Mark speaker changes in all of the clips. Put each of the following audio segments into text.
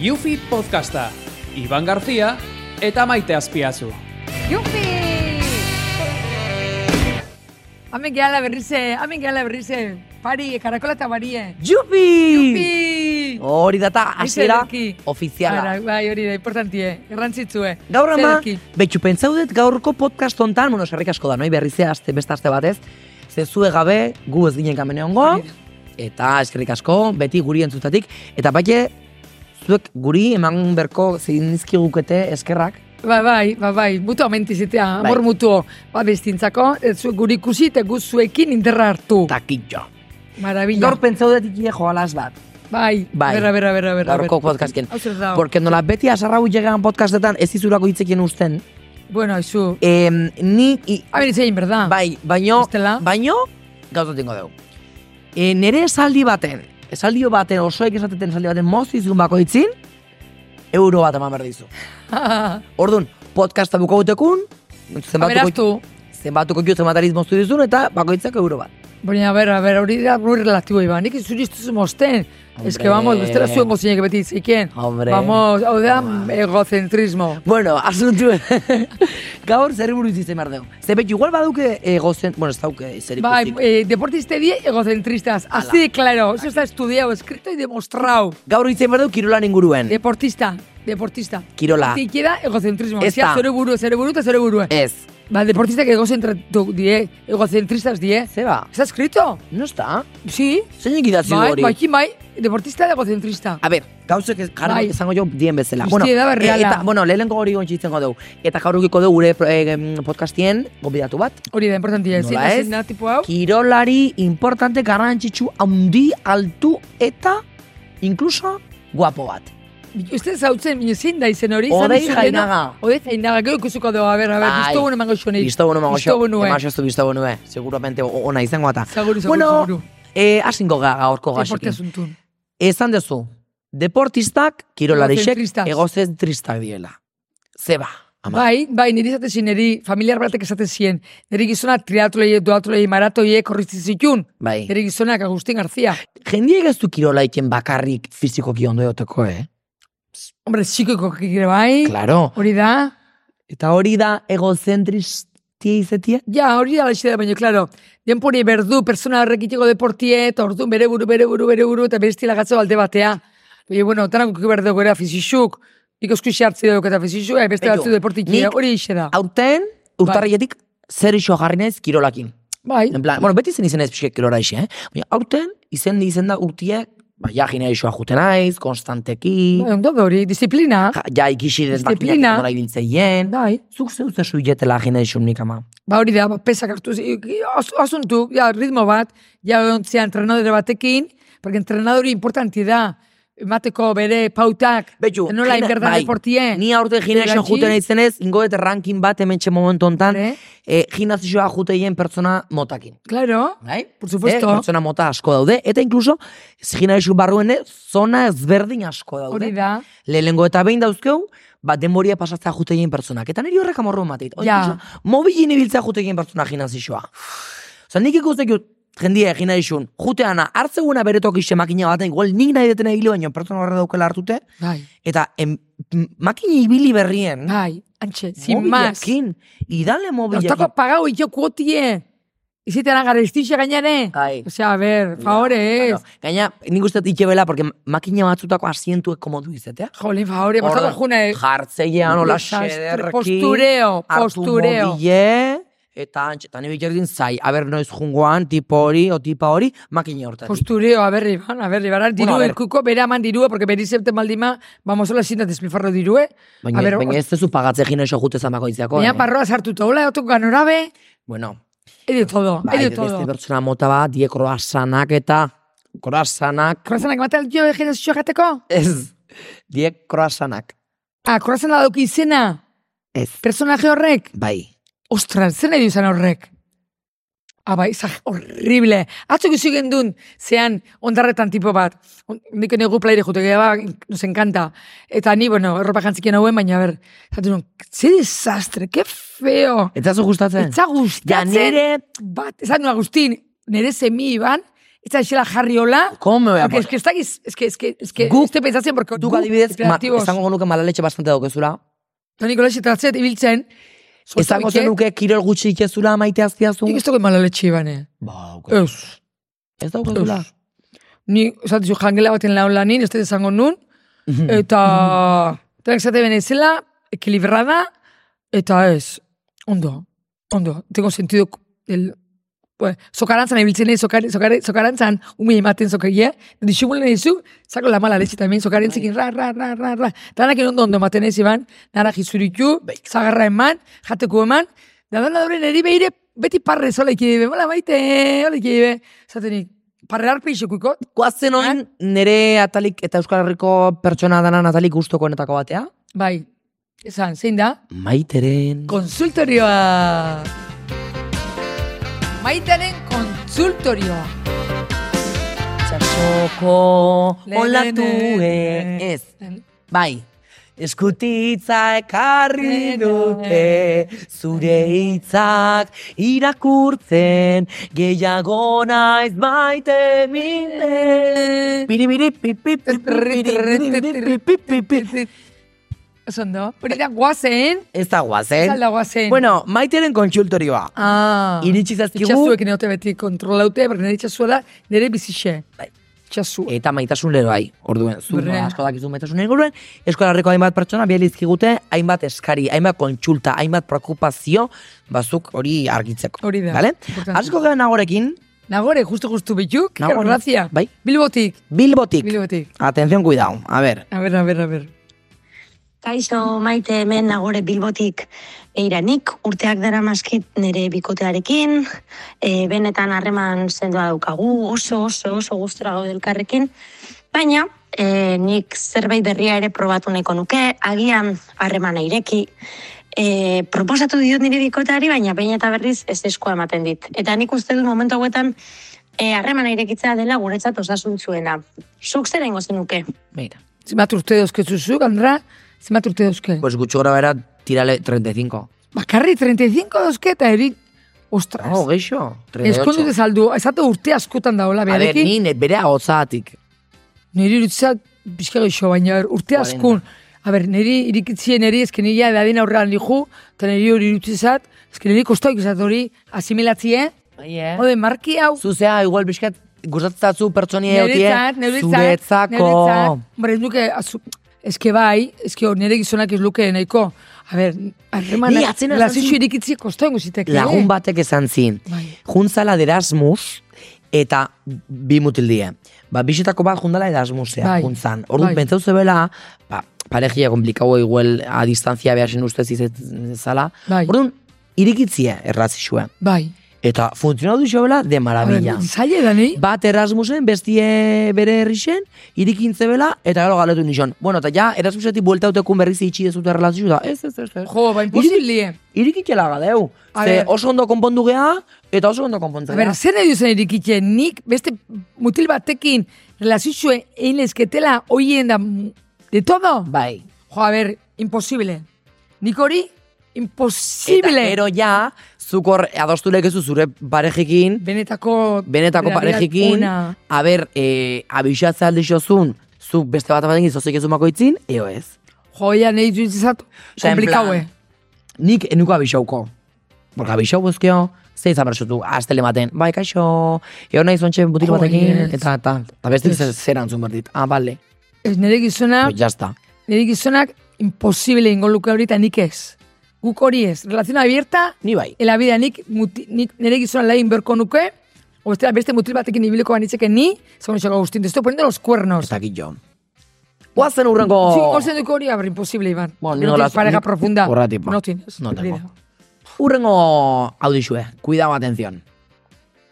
Speaker 1: Yufi Podcasta, Iban Garzia eta Maite Azpiazu.
Speaker 2: Jupi! Hemen gehala berrize, hemen gehala berrize. Pari, karakola eta barie.
Speaker 3: Jupi!
Speaker 2: Jupi!
Speaker 3: Hori data hasiera
Speaker 2: Ederki. Ara,
Speaker 3: ofiziala.
Speaker 2: bai, hori da, importantie, errantzitzue.
Speaker 3: Gaur ama,
Speaker 2: Zerki.
Speaker 3: betxu pentsaudet gaurko podcast hontan, bueno, eskerrik asko da, noi berrizea aste beste aste batez, zezue gabe gu ez ginen kamene ongo,
Speaker 2: Hori da.
Speaker 3: eta eskerrik asko, beti guri entzutatik, eta baite, zuek guri eman berko zein dizkigukete eskerrak,
Speaker 2: Bai, bai, bai, bai, mutu amentizitea,
Speaker 3: Bai.
Speaker 2: amor mutuo. Ba, bestintzako, ez zu- guri ikusi eta gu zuekin interra hartu.
Speaker 3: takillo.
Speaker 2: Marabila.
Speaker 3: Gaur pentsaudet ikide joalaz bat.
Speaker 2: Bai,
Speaker 3: Bai.
Speaker 2: bera, bera, bera, bera.
Speaker 3: Gaurko
Speaker 2: bera.
Speaker 3: podcastken.
Speaker 2: Hau zer dago.
Speaker 3: Porque nola beti asarrau llegan podcastetan ez izurako hitzekin usten.
Speaker 2: Bueno, izu.
Speaker 3: Em, ni i-
Speaker 2: Haben itzein, berda?
Speaker 3: Bai, baino,
Speaker 2: Bestela?
Speaker 3: baino, gauza tingo dugu. E, nere esaldi baten, esaldio baten, osoek esateten esaldi baten moztu izun bako itzin, euro bat eman behar dizu. Orduan, podcasta buko gutekun, zenbatuko,
Speaker 2: Aberastu.
Speaker 3: zenbatuko jo zenbatariz moztu dizun, eta bakoitzak euro bat.
Speaker 2: Baina, a ber, a ber, hori da muy relatibo, Iban. Nik zuri iztuzu mozten. Ez que,
Speaker 3: Hombre.
Speaker 2: vamos, bestela zuen mozinek beti izikien.
Speaker 3: Hombre.
Speaker 2: Vamos, hau da,
Speaker 3: Hombre.
Speaker 2: egocentrismo.
Speaker 3: Bueno, asuntu, gaur zer buruz izan behar dugu. Zebet, igual baduke eh, gozen, bueno, ez dauke zer
Speaker 2: Bai,
Speaker 3: ikusik.
Speaker 2: eh, deportiste die egocentristas. Así de claro. Eso está estudiado, escrito y demostrado.
Speaker 3: Gaur izan behar dugu kirolan inguruen.
Speaker 2: Deportista, deportista.
Speaker 3: Kirola. Eh.
Speaker 2: Tikida egocentrismo.
Speaker 3: Ez
Speaker 2: Ezta.
Speaker 3: da.
Speaker 2: Zure buru, zure buru eta zure buru.
Speaker 3: Ez.
Speaker 2: Ba, deportista que egocentratu die, egocentristas die.
Speaker 3: Zeba,
Speaker 2: Está escrito.
Speaker 3: no está?
Speaker 2: Sí.
Speaker 3: Zeinek idatzi du
Speaker 2: Bai,
Speaker 3: hori? Ah.
Speaker 2: bai, bai, deportista de egocentrista.
Speaker 3: A ber, gauzek ez- jarri
Speaker 2: Bai.
Speaker 3: izango jo dien bezala. eh,
Speaker 2: Guztia da berreala.
Speaker 3: eta, bueno, lehenko hori gontxe izango dugu. Eta gaur ukiko dugu gure eh, em, podcastien gombidatu bat.
Speaker 2: Hori da, importantia. Zein
Speaker 3: Nola
Speaker 2: da,
Speaker 3: ez?
Speaker 2: zein da, tipo hau?
Speaker 3: Kirolari importante garrantzitsu handi, altu eta inkluso guapo bat.
Speaker 2: Uste zautzen, baina zein da izen hori? Izan
Speaker 3: Odei
Speaker 2: duzu leheno-
Speaker 3: Jainaga.
Speaker 2: Odei jainaga, gero ikusuko dugu, a ber, a ber,
Speaker 3: Bai.
Speaker 2: biztogun emango xonei.
Speaker 3: Bisto bono mago xo.
Speaker 2: Biztogun nuen.
Speaker 3: Emaxo ez du bisto bono, eh. Seguramente o- ona izango eta.
Speaker 2: Seguru, seguru,
Speaker 3: Bueno,
Speaker 2: seguru.
Speaker 3: eh, asingo ga gaurko
Speaker 2: Deporte
Speaker 3: gaxekin.
Speaker 2: asuntun.
Speaker 3: Esan dezu, deportistak kirolarixek
Speaker 2: Egozentristas.
Speaker 3: egozentristak diela. Zeba, ba, ama.
Speaker 2: Bai, bai, niri esaten zin, niri familiar batek esaten zien. Niri gizona triatloi, duatloi, maratoie, korritzen zitun.
Speaker 3: Bai.
Speaker 2: Niri gizonak Agustin Garzia.
Speaker 3: jendiek ez du kirola egiten bakarrik fizikoki ondo egoteko, eh?
Speaker 2: Hombre, psikoiko kikire bai.
Speaker 3: Claro.
Speaker 2: Hori da.
Speaker 3: Eta hori da egozentristia izetia?
Speaker 2: Ja, hori da laxe da, baina, klaro, denpori berdu, persona horrek iteko deportie, eta orduan bere buru, bere buru, bere buru, eta bere estilagatzo alde batea. Baina, bueno, tanak uki behar dugu era fizixuk, nik eskusi hartzi dugu eta fizixuk, eh, beste
Speaker 3: Beitu,
Speaker 2: hartzi deportikia,
Speaker 3: nik-
Speaker 2: hori ixe da.
Speaker 3: Aurten, urtarrietik, zer iso jarri naiz kirolakin.
Speaker 2: Bai,
Speaker 3: En plan, bueno, beti izen izen ez pixek kirora ise, eh? Baina aurten, izen di izen da urtie, ba, ja jina isoa juten naiz, konstanteki,
Speaker 2: bai, ondo da hori, disiplina,
Speaker 3: ja, ja ikisi desdakinak
Speaker 2: Disiplina.
Speaker 3: nola ibiltzeien.
Speaker 2: bai,
Speaker 3: Zuk zeu zesu hiletela jina isun nik ama.
Speaker 2: ba hori da, ba, pesak hartu, zi- as- asuntu, ja, ritmo bat, ja, ontzea entrenadore batekin, porque entrenadori importanti da, emateko bere pautak,
Speaker 3: Betxu,
Speaker 2: nola
Speaker 3: jina-
Speaker 2: inberdan
Speaker 3: bai,
Speaker 2: deportien.
Speaker 3: Ni aurten gimnasioan
Speaker 2: Iratzi.
Speaker 3: juten naizenez, ingoet ranking bat hementxe momentu hontan,
Speaker 2: Hombre.
Speaker 3: e, gimnasioa juteien pertsona motakin.
Speaker 2: Claro,
Speaker 3: Bai?
Speaker 2: Por supuesto.
Speaker 3: Eh, pertsona mota asko daude, eta inkluso, gimnasio barruen eh, zona ezberdin asko daude.
Speaker 2: hori da.
Speaker 3: Lehenengo eta behin dauzkeu, ba, denboria pasatzea juteien pertsonak. Eta niri horrek amorru mateit.
Speaker 2: Ja.
Speaker 3: Mobilin ibiltzea juteien pertsona gimnasioa. Osa, nik ikustek jut, jendia egin nahi xun, juteana, hartzeguena bere tokixen makina baten, igual nik nahi detena hilo baino, pertsona horre daukela hartute,
Speaker 2: Bai,
Speaker 3: eta en, m- makina ibili berrien,
Speaker 2: bai, antxe, sin más.
Speaker 3: mobilekin, idale mobilekin.
Speaker 2: Ostako pagau yo kuotie. Iziten agarrestixia gainare.
Speaker 3: Ai.
Speaker 2: Osea, a ver, favore, ez.
Speaker 3: Bueno, gaina, nik uste dut itxebela, porque makina batzutako asientuek komodu izatea.
Speaker 2: Jolin, favore, pasako
Speaker 3: Orduan,
Speaker 2: june.
Speaker 3: Jartzeian, hola,
Speaker 2: eh? Desastre,
Speaker 3: xederki.
Speaker 2: postureo, postureo.
Speaker 3: Hartu mobile, eta antxe, eta nire jardin zai, aber noiz jungoan, tipo hori, o tipa hori, makina hortatik.
Speaker 2: Postureo, a ver, Iván, a ver, Iván, diru
Speaker 3: Bueno, a ver.
Speaker 2: ikuko, bere aman dirue, porque beri septen baldima, vamos hola zindat despilfarro dirue.
Speaker 3: baina,
Speaker 2: a ver,
Speaker 3: baina
Speaker 2: baina,
Speaker 3: ez zezu pagatze jina eso jute zamakoitzako.
Speaker 2: baina parroa sartuta, hola, otoko ganorabe,
Speaker 3: eh? Bueno,
Speaker 2: he de todo,
Speaker 3: bai,
Speaker 2: he de
Speaker 3: beste
Speaker 2: todo.
Speaker 3: pertsona mota bat, die kroasanak eta, kroasanak,
Speaker 2: Kroazanak ematen jo ejerezio jateko?
Speaker 3: ez, die kroasanak,
Speaker 2: Ah, kroazana dauki izena,
Speaker 3: ez,
Speaker 2: personaje horrek.
Speaker 3: bai.
Speaker 2: Ostras, zer nahi du izan horrek? Aba, izan horrible. Atzo gizu gendun, zean, ondarretan tipo bat. On- Nik negu plaire jute, ba, nos encanta. Eta ni, bueno, erropa jantzikien hauen, baina, a ber, zatu nun, ze desastre, que feo.
Speaker 3: Eta zu gustatzen?
Speaker 2: Etza
Speaker 3: Ja,
Speaker 2: gustatzen.
Speaker 3: nire,
Speaker 2: Bat, esan nun, Agustin, nire semi iban, ez da xela jarri hola.
Speaker 3: Komo me voy a
Speaker 2: Porque es que ez dakiz, es que, es que, es que,
Speaker 3: Guk-
Speaker 2: ez te pentsatzen, porque
Speaker 3: Duk adibidez, ma,
Speaker 2: kreatibos.
Speaker 3: esango nuke malaletxe bastante daukezula.
Speaker 2: Toni Kolesi tratzet ibiltzen,
Speaker 3: Esango zenuke kirol gutxi ikezula maite azpiazu.
Speaker 2: Nik ez dugu mala letxe ibane.
Speaker 3: Ba, dauke.
Speaker 2: Ez.
Speaker 3: Ez daukezula.
Speaker 2: Ez. Ni, esatizu, jangela baten laun lanin, ez dut esango nun, eta, tenak zate benezela, ekilibrada, eta ez, ondo, ondo, tengo sentido, el, pues, sokarantzan ibiltzen ez, sokar, sokar, sokarantzan, umi ematen sokaria, disimulen izu, zako la mala letxe tamen, sokarentzekin, ra, ra, ra, ra, ra, danakin ondo ondo ematen ez iban, nara jizuritu, zagarra eman, jateko eman, da dana doren eri behire, beti parrez, hola ikidibe, hola maite, hola ikidibe, zatenik, parrear pixekuiko,
Speaker 3: Guazen oin nire atalik eta Euskal Herriko pertsona danan atalik gustokoenetako batea.
Speaker 2: bai, esan, zein da?
Speaker 3: Maiteren.
Speaker 2: Konsultorioa! Maitaren konsultorioa.
Speaker 3: Txasoko olatuek. Ez. Bai. Eskutitza ekarri dute, zure hitzak irakurtzen, gehiago naiz maite mine. Biri, biri, pi, pi, pi, pi, pi, pi, pi, pi, pi.
Speaker 2: Osondo, hori da guazen,
Speaker 3: Ez da guazen.
Speaker 2: salda guazen.
Speaker 3: Bueno, maiteren kontsultorioa.
Speaker 2: ah,
Speaker 3: Iritsi zaizkigu
Speaker 2: itxasuek neote beti kontrolaute, baina nire itxasua da, nire bizixe.
Speaker 3: Bai.
Speaker 2: Itxasua.
Speaker 3: eta maitasun lero bai. Orduen, zu
Speaker 2: Berrea.
Speaker 3: ba, asko dakizu maitasun inguruen, eskolarreko hainbat pertsona bielizkigute, hainbat eskari, hainbat kontsulta, hainbat preokupazio, bazuk hori argitzeko.
Speaker 2: Hori da.
Speaker 3: Bale?
Speaker 2: Importante.
Speaker 3: Asko gara nagorekin,
Speaker 2: Nagore, justu-justu bituk,
Speaker 3: Nagore.
Speaker 2: grazia.
Speaker 3: Bai.
Speaker 2: Bilbotik,
Speaker 3: Bilbotik.
Speaker 2: Bilbotik.
Speaker 3: Atención, cuidao. A ver.
Speaker 2: A ber, a ber, a ber.
Speaker 4: Kaixo maite hemen nagore bilbotik eiranik, urteak dara maskit nire bikotearekin, e, benetan harreman sendoa daukagu, oso oso oso gustora gaude elkarrekin, baina e, nik zerbait berria ere probatu nahiko nuke, agian harremana ireki, e, proposatu diot nire bikoteari, baina behin eta berriz ez eskoa ematen dit. Eta nik uste dut momentu hauetan e, harremana irekitzea dela guretzat osasuntzuena. Zuk zer egingo zenuke?
Speaker 3: Mira.
Speaker 2: Zimat urte dauzkezuzuk, Andra? Zimat urte dauzke?
Speaker 3: Pues gutxo gara bera, tirale 35.
Speaker 2: Bakarri 35 dauzke eta eri... Ostras.
Speaker 3: Oh, geixo.
Speaker 2: Eskondu
Speaker 3: 38.
Speaker 2: dezaldu, ezatu urte askotan daola
Speaker 3: A ver,
Speaker 2: beharekin,
Speaker 3: ni ne- bere ahozatik.
Speaker 2: niri irutzak bizka geixo, baina urte
Speaker 3: 40.
Speaker 2: askun, a ber, niri irikitzie niri, ezken nila edadin aurrean lihu, eta niri hori irutzizat, ezken niri kostauk izat hori asimilatzie,
Speaker 3: Eh?
Speaker 2: hode marki hau,
Speaker 3: Zuzea, igual bizkat, gustatzazu pertsonia eutie,
Speaker 2: niretzat, niretzat,
Speaker 3: zuretzako.
Speaker 2: niretzat, hombre, ez nuke, azu, ezke bai, ezke hor nire gizonak ez luke nahiko, a ber, harreman,
Speaker 3: Ni atzena esan
Speaker 2: lazitxo
Speaker 3: zin-
Speaker 2: irikitzie kostauk zitek,
Speaker 3: Lagun batek esan zin.
Speaker 2: Bai.
Speaker 3: juntzala de Erasmus eta bi mutildie. Ba, bisetako bat jundala Erasmusea,
Speaker 2: Bai.
Speaker 3: juntzan. Orduan,
Speaker 2: Bai.
Speaker 3: pentsau zebela, ba, parejia komplikau igual a distantzia behasen ustez izetzala.
Speaker 2: Bai.
Speaker 3: Orduan, irikitzie errazizue.
Speaker 2: Bai,
Speaker 3: Eta funtzionatu zebela de
Speaker 2: a ber,
Speaker 3: maravilla.
Speaker 2: zaila da ni,
Speaker 3: Bat Erasmusen, bestie bere herrixen, irikintze bela, eta gero galetu nixon. Bueno, eta ja, Erasmusetik bueltautekun berriz itxi dezute erlazio da. Ez, ez, ez, ez.
Speaker 2: jo, ba, imposiblie.
Speaker 3: Irikitela gadeu.
Speaker 2: A
Speaker 3: Ze
Speaker 2: ber.
Speaker 3: oso ondo konpondu gea, eta oso ondo
Speaker 2: A
Speaker 3: konpontzen
Speaker 2: ber,
Speaker 3: gea.
Speaker 2: zer nahi duzen irikitxe, nik beste mutil batekin relazioxue egin lezketela hoien da mu- de todo?
Speaker 3: Bai.
Speaker 2: Jo, a ber, imposible. Nik hori,
Speaker 3: Eta
Speaker 2: imposible.
Speaker 3: gero ja, zukor adostu lekezu zure parejekin,
Speaker 2: Benetako,
Speaker 3: benetako
Speaker 2: berariak
Speaker 3: parejekin,
Speaker 2: ona.
Speaker 3: aber, e, abixatze alde xozun, zu beste bat amaten gizozik ez makoitzin, eo ez.
Speaker 2: Jo, ia nahi duizizat,
Speaker 3: Osea, en
Speaker 2: komplikaue.
Speaker 3: plan, Nik enuko abixauko. Borka abixau buzkio, zein izan bertxutu, astele maten, bai, kaixo, eo nahi zontxe butik
Speaker 2: Jo,
Speaker 3: batekin,
Speaker 2: ez.
Speaker 3: eta, eta, eta beste
Speaker 2: Ez.
Speaker 3: zer zer antzun berdit. Ah, bale,
Speaker 2: Ez nire gizona,
Speaker 3: pues jazta.
Speaker 2: nire gizonak imposible ingo luke hori eta nik ez. Guk hori ez. Relazion abierta,
Speaker 3: Ni bai.
Speaker 2: en la vida nik, muti, nik nire gizona lagin berko nuke, o bestela beste mutil batekin ibiliko banitzeke ni, zagun iso, Agustin, te estoy poniendo los cuernos.
Speaker 3: Ez dakit jo. Guazen urrengo...
Speaker 2: Sí, Olsen duko hori, a ver, imposible, Iván.
Speaker 3: Oh. Bueno,
Speaker 2: no
Speaker 3: no
Speaker 2: tienes
Speaker 3: las-
Speaker 2: pareja
Speaker 3: ni-
Speaker 2: profunda.
Speaker 3: horregatik, ba.
Speaker 2: No tienes.
Speaker 3: No tengo.
Speaker 2: Olvida.
Speaker 3: Urrengo audixue, cuidado, atención.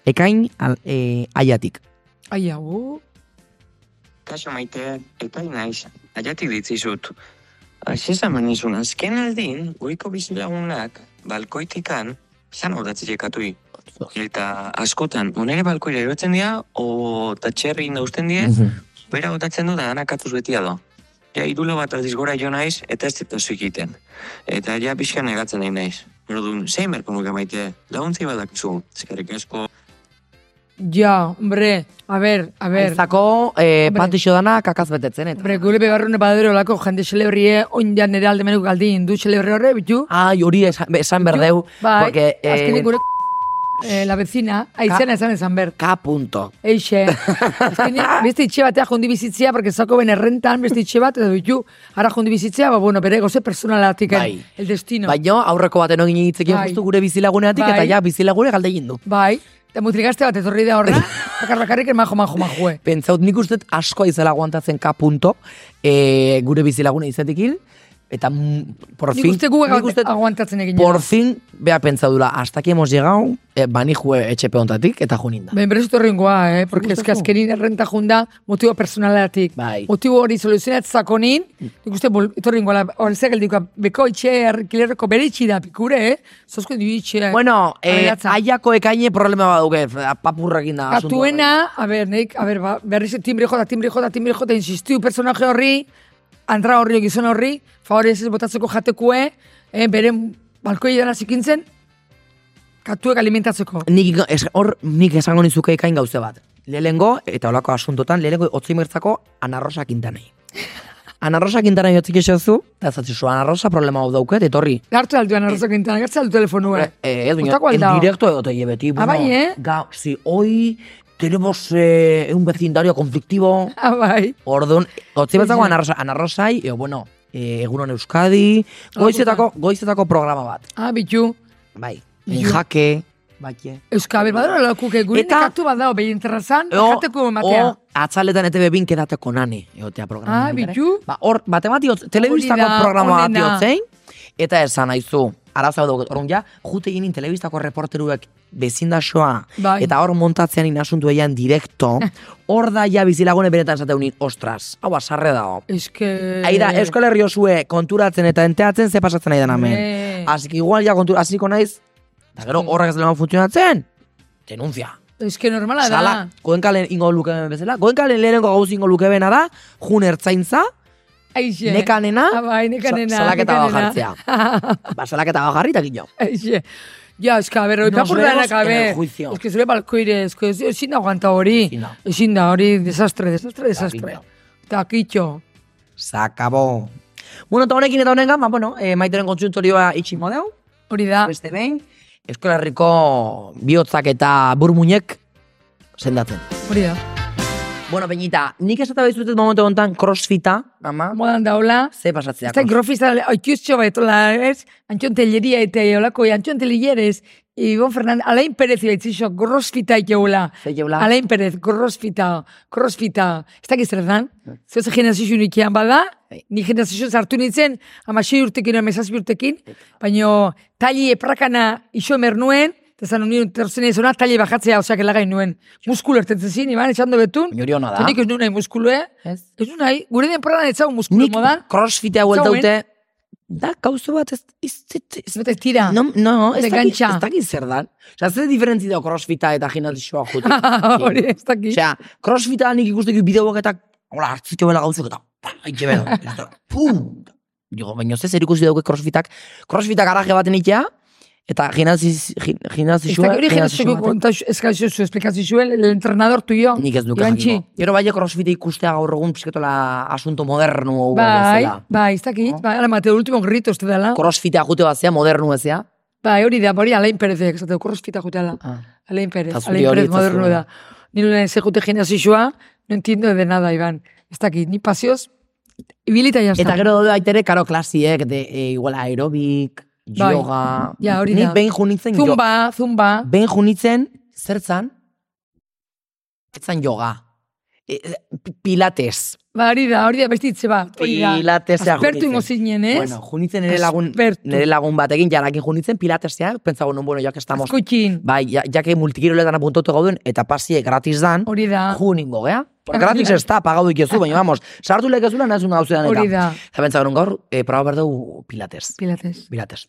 Speaker 3: Ekain al, eh, aiatik.
Speaker 2: Ai, hau.
Speaker 5: Kaso maite, epai naiz, aiatik ditzizut. Aiz eman nizun, azken aldin, goiko bizilagunak, balkoitikan, zan hordatzik ekatui. Eta askotan, onere balkoira erotzen dira, o tatxerri indausten die, bera botatzen du da anakatuz beti ado. Ja, irulo bat aldiz gora jo naiz, eta ez ditu zikiten. Eta ja, pixka negatzen nahi naiz. Orduan, zein berko nuke maite, laguntzi badakizu, eskerrik asko.
Speaker 2: Ja, hombre, a ber, a ber.
Speaker 3: Aizako, eh,
Speaker 2: Hombre.
Speaker 3: patixo dana kakaz betetzen, eta.
Speaker 2: Hombre, gure bebarrune badero lako jende xelebrie, oindan nere alde menuk galdin, du xelebre horre, bitu.
Speaker 3: Ai, hori esan, esan berdeu,
Speaker 2: Bai,
Speaker 3: Ah, porque... eh,
Speaker 2: azkenik gure eh, la vecina, aizena esan esan ber.
Speaker 3: K punto.
Speaker 2: Eixe, azkenean, beste itxe batea jondi bizitzea, porque zako ben errentan beste itxe bat, edo bitu, ara jondi bizitzea, ba, bueno, bere goze personalatik,
Speaker 3: Bai.
Speaker 2: el destino.
Speaker 3: Baina aurreko baten egin hitzekin
Speaker 2: Bai.
Speaker 3: justu gure bizilaguneatik,
Speaker 2: Bai.
Speaker 3: eta ja, bizilagune galde egin du.
Speaker 2: Bai, eta mutrikaste bat etorri da horra, bakar bakarrik majo, majo, majo, eh.
Speaker 3: Pentsaut nik uste dut asko izela aguantatzen K punto, eh, gure bizilagune izatekin, eta mm, por fin...
Speaker 2: Nik uste gu
Speaker 3: nik uste dut
Speaker 2: aguantatzen egin.
Speaker 3: Por fin, bea pentsadula, hasta aquí hemos llegado, eh, bani jue etxepe hontatik, eta juninda.
Speaker 2: Ben, berez etorri ingoa, eh? Porque
Speaker 3: Gustatu.
Speaker 2: eske azkenin errenta junda motibo personalatik.
Speaker 3: Bai.
Speaker 2: Motibo hori soluzionat zakonin, nik uste bol- etorri ingoa, hori zeak eldikoa, beko itxe, erkilerroko bere itxi da, pikure, eh? Zozko du itxe.
Speaker 3: Bueno, eh,
Speaker 2: aberatza.
Speaker 3: aiako ekaine problema baduke, papurrekin da. bai. asuntua.
Speaker 2: Katuena, a ber, neik, a ber, ba, berriz timbre jota, timbre jota, timbre jota, insistiu personaje horri, antra horri, gizon horri, favorez ez botatzeko jatekue, eh, bere balkoi dara zikintzen, katuek alimentatzeko.
Speaker 3: Nik, es, hor, nik esango nizuke ekain gauze bat. Lehengo, eta holako asuntotan, lehengo otzaimertzako anarrosa kintanei. Anarrosa kintanei otzik esazu, eta zatzi zu, anarrosa problema hau dauket, etorri.
Speaker 2: Gartu alduan arrozak gintan, gartu aldu telefonua.
Speaker 3: Eh, eh, edo,
Speaker 2: Otako
Speaker 3: en
Speaker 2: aldao.
Speaker 3: directo edo teie beti.
Speaker 2: Ah, bai, eh?
Speaker 3: Ga, si, hoy tenemos eh, un vecindario conflictivo.
Speaker 2: Ah, bai.
Speaker 3: Ordun, otzi betzako
Speaker 2: Oixe.
Speaker 3: anarrosa, anarrosai, eo, bueno, e, egunon Euskadi, goizetako, goizetako programa bat.
Speaker 2: Ah, bitu.
Speaker 3: Bai,
Speaker 2: Iu.
Speaker 3: jake,
Speaker 2: Bai,
Speaker 3: baie.
Speaker 2: Euskabel badara lakuke, gure
Speaker 3: Eta- Oh,
Speaker 2: nekatu bat dao, behin terrazan, jateko ematea.
Speaker 3: atzaletan E ete bebin kedateko nani, egotea programa.
Speaker 2: Ah, bitu.
Speaker 3: Ba, hor, batemati, telebistako
Speaker 2: da,
Speaker 3: programa bat
Speaker 2: onena.
Speaker 3: iotzein, eta esan aizu, arazo dago, orrun ja, jute ginin telebistako reporteruek bezindasoa,
Speaker 2: Bai.
Speaker 3: eta hor montatzean inasuntu eian direkto, hor da ja bizilagune benetan zateunin, ostras, hau asarre dago.
Speaker 2: Eske...
Speaker 3: Aida, Euskal Herri osue konturatzen eta enteatzen ze pasatzen nahi den
Speaker 2: Hombre.
Speaker 3: hemen. Asik igual ja kontura, hasiko naiz, eta gero horrek ez leman funtzionatzen, denuntzia.
Speaker 2: Eske normala da.
Speaker 3: Sala, goenkalen ingo luke ben bezala, goenkalen lehenengo gauz ingo luke bena da, jun ertzaintza,
Speaker 2: Aixe.
Speaker 3: nekanena,
Speaker 2: Ah, bai, nekanena.
Speaker 3: sa- salaketa
Speaker 2: nekanena.
Speaker 3: bajartzea. ba, salaketa bajarri eta gino.
Speaker 2: Eixe. Ja, eska, a ber, oita
Speaker 3: Nos
Speaker 2: burdanak,
Speaker 3: vemos
Speaker 2: a
Speaker 3: en el
Speaker 2: ber.
Speaker 3: juicio.
Speaker 2: Eske zure balkoire, eske, ez- ezin da aguanta hori.
Speaker 3: Ezin da.
Speaker 2: Ezin da, hori desastre, desastre, desastre.
Speaker 3: Takitxo.
Speaker 2: Takitxo.
Speaker 3: Sakabo. Bueno, eta honekin eta honengan, ba, bueno, eh, maiteren kontsultorioa itxi modeu,
Speaker 2: Hori da.
Speaker 3: beste behin, Euskal Herriko bihotzak eta burmuinek sendatzen.
Speaker 2: Hori da.
Speaker 3: Bueno, Peñita, nik esatu behizutet momentu honetan crossfita, ama,
Speaker 2: Modan daula.
Speaker 3: ze pasatzea.
Speaker 2: Ez da grofista, oitxuzio baitola, ez? Antxon Telleria eta eolako, Antxon Telleres, Ibon Fernández, Alain Perez ibaitzizo, grosfita ikeula.
Speaker 3: Ze jeula.
Speaker 2: Alain Perez, grosfita, grosfita. Ez da gizera dan? Zeus generazio ikian bada, ni generazio zartu nintzen, amasei urtekin, amezazpi urtekin, baino tali eprakana iso emer nuen, eta zan unien terzen ez ona, tali bajatzea osak elagain nuen. Muskulo ertetzen zin, iban, etxan do betun.
Speaker 3: Baina hori ona da.
Speaker 2: Eta Nik ez nuen nahi muskulue.
Speaker 3: Ez.
Speaker 2: Ez nuen nahi, gure den pranan ez zau muskulo
Speaker 3: Nik
Speaker 2: modan.
Speaker 3: crossfitea huelta
Speaker 2: Zauen.
Speaker 3: dute, da, gauzu bat ez, ez, ez, ez,
Speaker 2: Zumeta ez tira.
Speaker 3: no, no, ez
Speaker 2: De
Speaker 3: dakit,
Speaker 2: gantxa.
Speaker 3: ez dakit zer dan. Osa, ze diferentzi da crossfita eta gimnasioa jute.
Speaker 2: Hori ez dakit.
Speaker 3: Osea, crossfita nik ikusteko bideoak eta, hola, hartziko bela gauzek eta, pa, itxe bela. Ez da, pum! Digo, baina ze zer ikusi dauke crossfitak, crossfitak garaje baten itea, eta gimnasi- gim-
Speaker 2: Ez
Speaker 3: gimnasioa,
Speaker 2: dakit hori
Speaker 3: gimnasioa
Speaker 2: jenazioa
Speaker 3: baten.
Speaker 2: konta eskazio zu esplikazio zuen, el entrenador tuyo.
Speaker 3: Nik ez nuke
Speaker 2: Iban txi.
Speaker 3: jakingo. Gero bai crossfit ikustea gaur egun pizketola asunto modernu hau
Speaker 2: Bai,
Speaker 3: bezala.
Speaker 2: bai, ez dakit. Bai, ala mateo, ultimo grito ez dela.
Speaker 3: Crossfitea jute batzea, modernu ezea.
Speaker 2: Bai, hori da, hori alain perezek, ez dut, korrosfita jutela.
Speaker 3: Ah.
Speaker 2: Alain Perez,
Speaker 3: Eta
Speaker 2: Alain
Speaker 3: zuri hori
Speaker 2: Perez
Speaker 3: ez da
Speaker 2: moderno
Speaker 3: zure.
Speaker 2: da. Ni nuen ze jute generazioa, no entiendo de nada, Iban. Ez dakit, ni pasioz, ibilita jazta.
Speaker 3: Eta gero daude baitere, karo, klasiek, de, e, igual aerobik,
Speaker 2: Bai.
Speaker 3: yoga.
Speaker 2: Ja, hori da.
Speaker 3: Nik behin junitzen, jo,
Speaker 2: Zumba, zumba.
Speaker 3: behin junitzen, zertzan, etzan yoga. E, e, pilates.
Speaker 2: Ba, hori da, hori da, bestitze bat. Hori da.
Speaker 3: Pilatesea
Speaker 2: Aspertu
Speaker 3: junitzen.
Speaker 2: ingo zinen, ez?
Speaker 3: Bueno, junitzen nire lagun,
Speaker 2: Aspertu.
Speaker 3: nire lagun batekin, jarakin junitzen, pilatesea, pentsago non, bueno, jak estamos,
Speaker 2: Azkutxin.
Speaker 3: bai, ja, jake multikiroletan apuntatu gauden, eta pasie gratis dan,
Speaker 2: Hori da.
Speaker 3: juningo, gea? Bueno, eh? gratis ez da, pagau ikezu, baina, vamos, sartu lekezula nahezun gauzean eta.
Speaker 2: Hori da.
Speaker 3: Eta pentsa genuen gaur, e, proba berdeu pilates.
Speaker 2: Pilates.
Speaker 3: Pilates.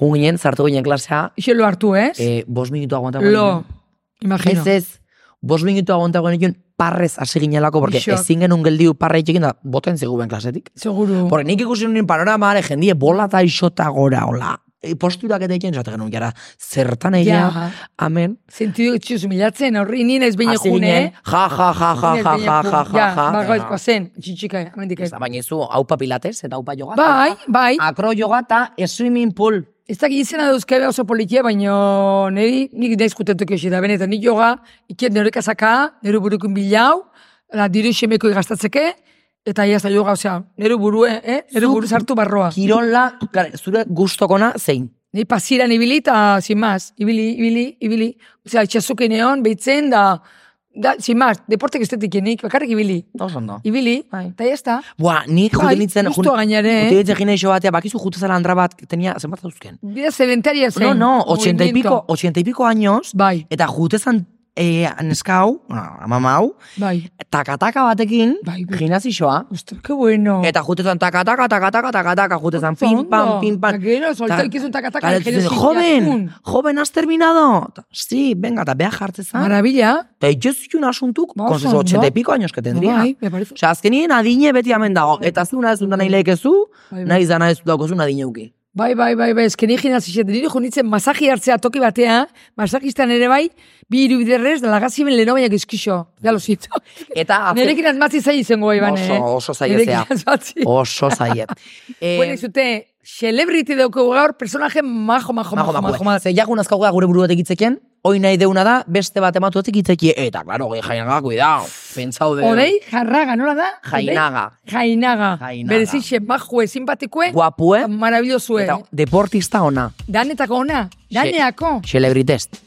Speaker 3: Jun ginen, zartu ginen klasea,
Speaker 2: Ixo lo hartu, ez?
Speaker 3: e, bos minutu aguantako
Speaker 2: Lo,
Speaker 3: genituen.
Speaker 2: imagino.
Speaker 3: Ez ez, bos minutu aguantako genituen parrez hasi ginelako, porque
Speaker 2: Ixok.
Speaker 3: ezin genuen geldiu parra itxekin da, boten zegoen klasetik.
Speaker 2: Seguru.
Speaker 3: Porque nik ikusi nuen panorama, are, jendie bola eta isota gora, hola. e, posturak eta egin, esaten genuen, jara, zertan egia,
Speaker 2: Ja,
Speaker 3: amen.
Speaker 2: sentidu txuz milatzen, horri nien ez bine
Speaker 3: Hasi
Speaker 2: june,
Speaker 3: ginen, ja, ja, ja, ja,
Speaker 2: Nien ez bine
Speaker 3: ja, ja, ja,
Speaker 2: june.
Speaker 3: ja,
Speaker 2: Ja,
Speaker 3: ja, Bai.
Speaker 2: bagoizkoa zen, txitsika, amendik ez.
Speaker 3: Ez da, Baina izu, haupa pilates eta haupa joga.
Speaker 2: Bai, bai,
Speaker 3: Akro joga eta e swimming pool.
Speaker 2: ez dakit izena dauzkabe oso politia, baino niri nik naiz kutetuko hori da, benetan nik joga, ikiet nire kasaka, nire burukun bilau, la diru xemeko gastatzeke, eta ia ez da joga, osea, nire burue, eh? nire
Speaker 3: Zuk-
Speaker 2: buru sartu barroa.
Speaker 3: Kirola, gara, zure gustokona zein.
Speaker 2: Ni pasiran ibili eta sin más, ibili, ibili, ibili. Osea, itxasuke neon, behitzen da, da, sin más, deportek estetikienik, bakarrik ibili.
Speaker 3: Oso ondo.
Speaker 2: Ibili,
Speaker 3: Bai.
Speaker 2: eta ya está.
Speaker 3: Buah, nik
Speaker 2: Bai,
Speaker 3: juten nintzen... jun-
Speaker 2: gustua gainera, eh?
Speaker 3: Juten nintzen gineixo batea, bakizu jute zela andra bat, tenia, zenbat zauzken?
Speaker 2: Vida sedentaria zen.
Speaker 3: No, no, ochenta y
Speaker 2: movimiento.
Speaker 3: pico, ochenta y pico años,
Speaker 2: Bai,
Speaker 3: eta jute zan eh, neska hau, bueno, amama hau,
Speaker 2: bai.
Speaker 3: takataka batekin,
Speaker 2: Bai, bai.
Speaker 3: gimnazioa,
Speaker 2: Ostras, qué bueno. Ah,
Speaker 3: eta jute zan takataka, takataka, takataka, jute zan
Speaker 2: Oso
Speaker 3: pim, pam,
Speaker 2: ondo.
Speaker 3: pim,
Speaker 2: Ta
Speaker 3: pam.
Speaker 2: Gero, solta,
Speaker 3: Ta-
Speaker 2: ikizu takataka.
Speaker 3: Kale,
Speaker 2: gero
Speaker 3: zuten,
Speaker 2: zin,
Speaker 3: joven,
Speaker 2: jakun.
Speaker 3: joven, has terminado. Ta, Sí, venga, eta beha jartzezan.
Speaker 2: Maravilla.
Speaker 3: Eta itxezkiun asuntuk,
Speaker 2: Ba,
Speaker 3: con
Speaker 2: oso
Speaker 3: sus
Speaker 2: ondo.
Speaker 3: ochenta y pico años que tendría.
Speaker 2: Bai, me parece.
Speaker 3: Osa, azkenien adine beti amen dago. Eta zu nahi zundan nahi lehekezu,
Speaker 2: Bai, bai.
Speaker 3: nahi zana ez daukozun adine uki.
Speaker 2: Bai, bai, bai, bai, esken egin azizet, nire jo nintzen masaji hartzea toki batea, masajistan ere bai, bi irubiderrez, da lagazimen leno bainak izkixo. Ja, lo siento.
Speaker 3: Eta azken-
Speaker 2: Nerekin azmatzi zai izango, Iban, eh?
Speaker 3: Ah, oso, oso zaiezea.
Speaker 2: Nerekin azmatzi.
Speaker 3: Oso zaiet. Eh,
Speaker 2: Bueno, izute, celebrity dauko gaur, personaje majo, majo,
Speaker 3: majo,
Speaker 2: majo,
Speaker 3: majo,
Speaker 2: majo, majo.
Speaker 3: Ze jagun azkago da gure buru batek itzeken, hoi nahi deuna da, beste bat ematu batek itzeki. Eta, klaro, gehi jainaga, kuidao. Pentsau de...
Speaker 2: Odei, jarraga, nola da? Odei?
Speaker 3: Jainaga.
Speaker 2: Jainaga.
Speaker 3: Jainaga.
Speaker 2: Berezixe, majue, simpatikoe,
Speaker 3: Guapue.
Speaker 2: maravillosue.
Speaker 3: Eta deportista ona.
Speaker 2: Danetako ona, daneako.
Speaker 3: Celebritest.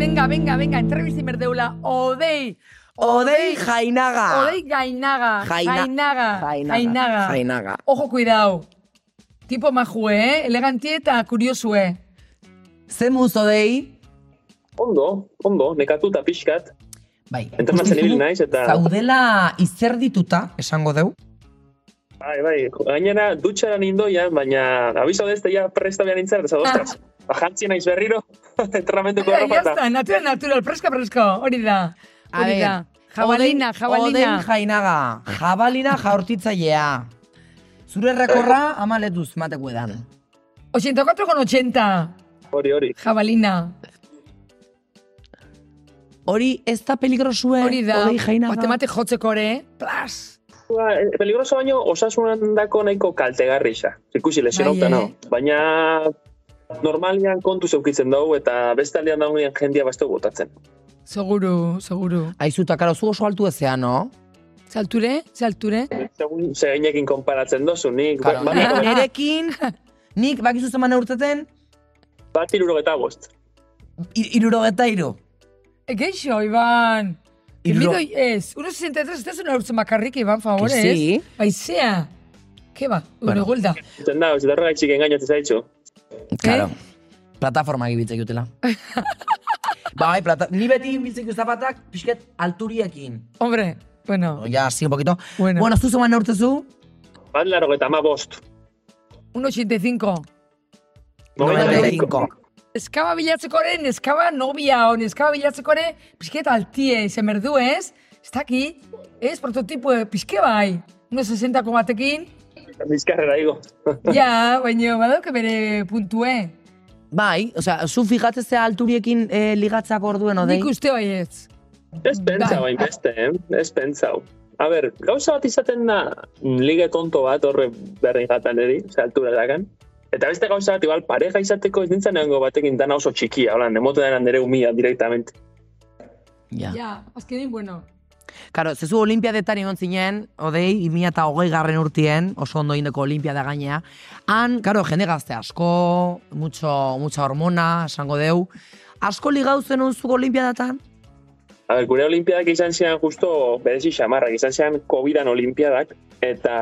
Speaker 2: Venga, venga, venga, entrevistin berdeula. Odei,
Speaker 3: Odei jainaga.
Speaker 2: odei gainaga,
Speaker 3: Jaina-
Speaker 2: jainaga, jainaga.
Speaker 3: Jainaga.
Speaker 2: Ojo, cuidao. Tipo majue, eh? Elegantie eta kuriosue.
Speaker 3: Zemuz odei.
Speaker 6: Ondo, ondo, nekatuta pixkat,
Speaker 3: Bai.
Speaker 6: Entrenatzen ibili naiz eta-
Speaker 3: Zaudela izerdituta, esango deu.
Speaker 6: bai, bai, gainera dutxaran indoian, baina abiso dezte ja presta behar nintzen, ez ostras, bajantzi naiz berriro, entrenamentuko
Speaker 2: Ya
Speaker 6: arropa eta
Speaker 2: está, natural, natural, preska, preska, hori da.
Speaker 3: A
Speaker 2: Hori da.
Speaker 3: ber,
Speaker 2: Jabalina,
Speaker 3: Odein- Odein
Speaker 2: jabalina.
Speaker 3: jainaga. Jabalina jaurtitzailea. Zure rekorra amaletuz mateko edan.
Speaker 2: 84,80.
Speaker 6: hori, hori.
Speaker 2: Jabalina.
Speaker 3: Hori ez da peligrosue.
Speaker 2: Hori da.
Speaker 3: Odei jainaga.
Speaker 2: Batemate jotzeko ere. Plas.
Speaker 6: Ba, eh, Peligroso baino osasunan dako nahiko kaltegarri isa. Ikusi lesionauta
Speaker 2: Bai,
Speaker 6: no.
Speaker 2: eh.
Speaker 6: Baina normalian kontuz eukitzen dugu eta beste aldean daunean jendia bastu botatzen.
Speaker 2: Seguru, seguru.
Speaker 3: Aizu, eta karo, zu oso altu ezean, no?
Speaker 2: Zalture, zalture.
Speaker 6: Segun zegainekin konparatzen dozu, nik
Speaker 3: Karo,
Speaker 6: ba-
Speaker 3: ne-
Speaker 6: bat,
Speaker 3: nerekin, nik bakizu zeman urteten,
Speaker 6: bat irurogeta bost.
Speaker 3: ir, irurogeta iru.
Speaker 2: Eh, Geixo, Iban.
Speaker 3: Iruro-
Speaker 2: Iruro... Ez, 1,63 ez da zuen aurtzen bakarrik, Iban, favorez.
Speaker 3: Que sí.
Speaker 2: Baizea. Keba, bueno. gulda.
Speaker 6: Zen da, ez darra gaitxik engainatzen zaitxu.
Speaker 3: Claro. Plataforma gibitzek jutela. bai, plata... ni beti biltzek zapatak pixket alturiekin.
Speaker 2: Hombre, bueno,
Speaker 3: Ja, sí, un poquito.
Speaker 2: Bueno.
Speaker 3: bueno zu zeman urtezu?
Speaker 6: Bat larogeta ma bost.
Speaker 2: 1,85.
Speaker 6: Nogeita
Speaker 2: Nogeita
Speaker 6: biko.
Speaker 3: Cinco.
Speaker 2: Eskaba bilatzekoren, eskaba novia hon, eskaba bilatzekoren, pixketa altie, izen berdu ez, ez daki, ez, prototipo, pixke bai, 1,60ko batekin,
Speaker 6: Bizkarrera digo.
Speaker 2: ja, baina badauke bere puntue.
Speaker 3: Bai, osea, zu fijatzea alturiekin eh, ligatzak orduen odei.
Speaker 2: Nik uste bai ez.
Speaker 6: Ez pentsa
Speaker 2: Bai.
Speaker 6: bain beste, eh? ez pentsau. A ber, gauza bat izaten da mm, lige tonto bat horre berri gatan eri, ze altura dakan. Eta beste gauza bat, igual, pareja izateko ez nintzen egongo batekin dana oso txikia, holan, emote dena nire humia direktamente.
Speaker 3: Ja.
Speaker 2: Ja, azkenin, bueno.
Speaker 3: Karo, zezu olimpiadetan egon zinen, odei, 2000 eta hogei garren urtien, oso ondo indeko olimpiada gainea. Han, karo, jende gazte asko, mucho, mucha hormona, esango deu. Asko ligau zen unzuk olimpiadatan?
Speaker 6: A ber, gure olimpiadak izan zian justo berezi xamarrak, izan zian COVID-an olimpiadak, eta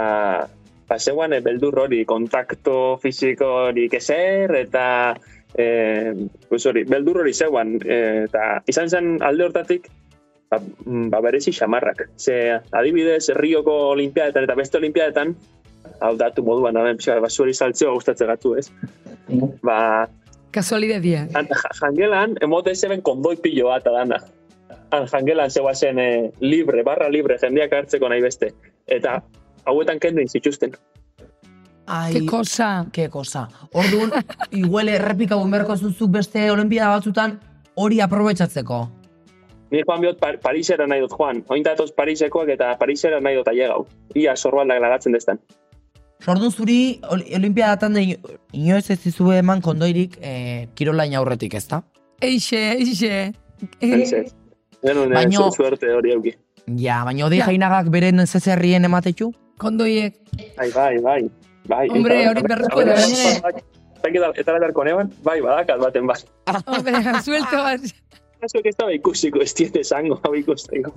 Speaker 6: paseuan eh, beldur hori, kontakto fisiko hori ezer, eta eh, pues hori, beldur hori zeuan, eh, eta izan zen alde hortatik, ba, mm, ba berezi xamarrak. Ze adibidez, Rioko olimpiadetan eta beste olimpiadetan, hau datu moduan, hemen pixka, bat, basuari saltzeo gustatzen gatu, ez? Ba,
Speaker 2: Kasualidadia.
Speaker 6: Han- ja- jangelan, emote zeben kondoi pilo bat adana. Han jangelan zegoazen eh, libre, barra libre, jendeak hartzeko nahi beste. Eta hauetan kendu inzituzten.
Speaker 3: Ai,
Speaker 2: Ke cosa.
Speaker 3: ke cosa. Orduan, igual errepika bomberko zuzuk beste olimpiada batzutan hori aprobetsatzeko.
Speaker 6: Ni joan bihot par Parisera nahi dut joan. Oin datoz Parisekoak eta Parisera nahi dut ailegau. Ia sorbaldak lagatzen destan.
Speaker 3: Orduan zuri ol- olimpiadatan de ino- inoiz ez dizue eman kondoirik eh, kirolain aurretik, ezta?
Speaker 2: Eixe, eixe.
Speaker 6: Ez ez. Genuen eh,
Speaker 3: Baino-
Speaker 6: zu- suerte hori auki.
Speaker 3: Ja, baina hodi
Speaker 2: Ja.
Speaker 3: jainagak beren zezerrien ematetxu?
Speaker 2: Kondoiek.
Speaker 6: Bai, bai, bai. Bai,
Speaker 2: Hombre, hori berriko da, gainera.
Speaker 6: Eta eta beharko neban, bai, badakat baten bat.
Speaker 2: Hombre, suelto bat.
Speaker 6: Zuek ez da ikusiko, ez diet esango, hau ikusteko.